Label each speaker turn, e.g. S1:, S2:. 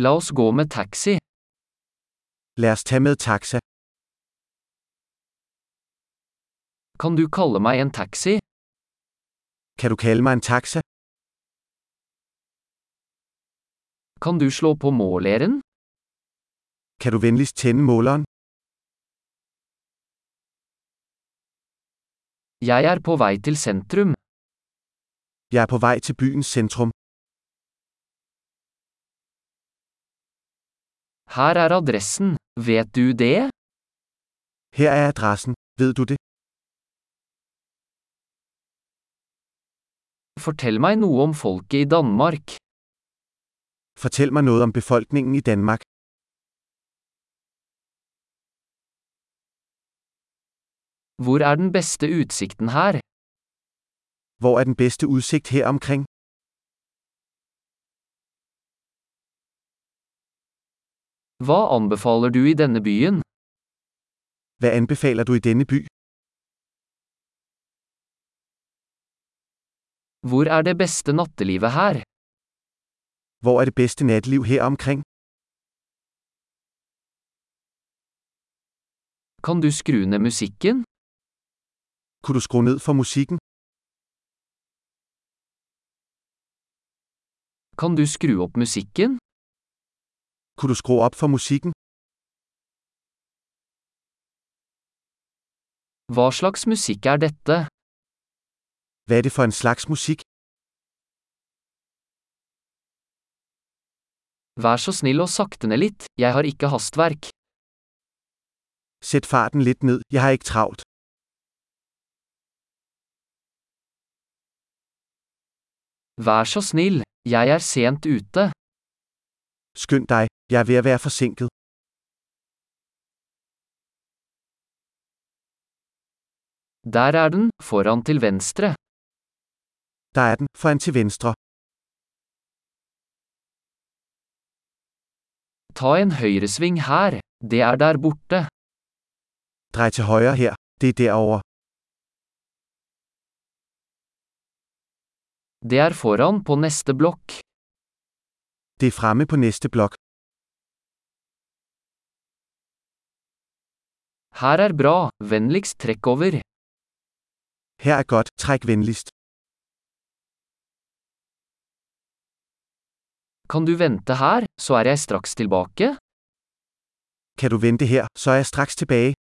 S1: La oss gå med taxi.
S2: Lad os tage med taxa.
S1: Kan du kalle meg en taxi?
S2: Kan du kalde mig en taxa?
S1: Kan du slå på måleren?
S2: Kan du venligst tænde måleren?
S1: Jeg er på vei til sentrum.
S2: Jeg er på vej til byens centrum.
S1: Her er adressen. Vet du det?
S2: Her er adressen. Ved du det?
S1: Fortell meg noe om folket i Danmark.
S2: Fortæl mig noget om befolkningen i Danmark.
S1: Hvor er den beste utsikten her?
S2: Hvor er den bedste udsigt her omkring?
S1: Hva anbefaler du i denne byen?
S2: Hvad anbefaler du i denne by?
S1: Hvor er det beste nattelivet her?
S2: Hvor er det bedste natliv her omkring?
S1: Kan du skru ned musikken?
S2: Kunne du skrue ned for musikken?
S1: Kan du skru opp musikken?
S2: Kunne du skrue op for musikken?
S1: Hva slags musikk er dette?
S2: Hvad er det for en slags musik?
S1: Vær så snill og sakte ned litt, jeg har ikke hastverk.
S2: Sæt farten lidt ned, jeg har ikke travlt.
S1: Vær så snill, jeg er sent ute.
S2: Skynd dig, jeg er ved at være forsinket.
S1: Der er den, foran til venstre.
S2: Der er den, foran til venstre.
S1: Ta en høyresving her, det er der borte.
S2: Drej til højre her, det er derovre.
S1: Det er foran på neste blokk.
S2: Det er fremme på næste blok.
S1: Her er bra, vennligst trekk over.
S2: Her er godt, træk venligst.
S1: Kan du vente her, så er jeg straks tilbake?
S2: Kan du vente her, så er jeg straks tilbage.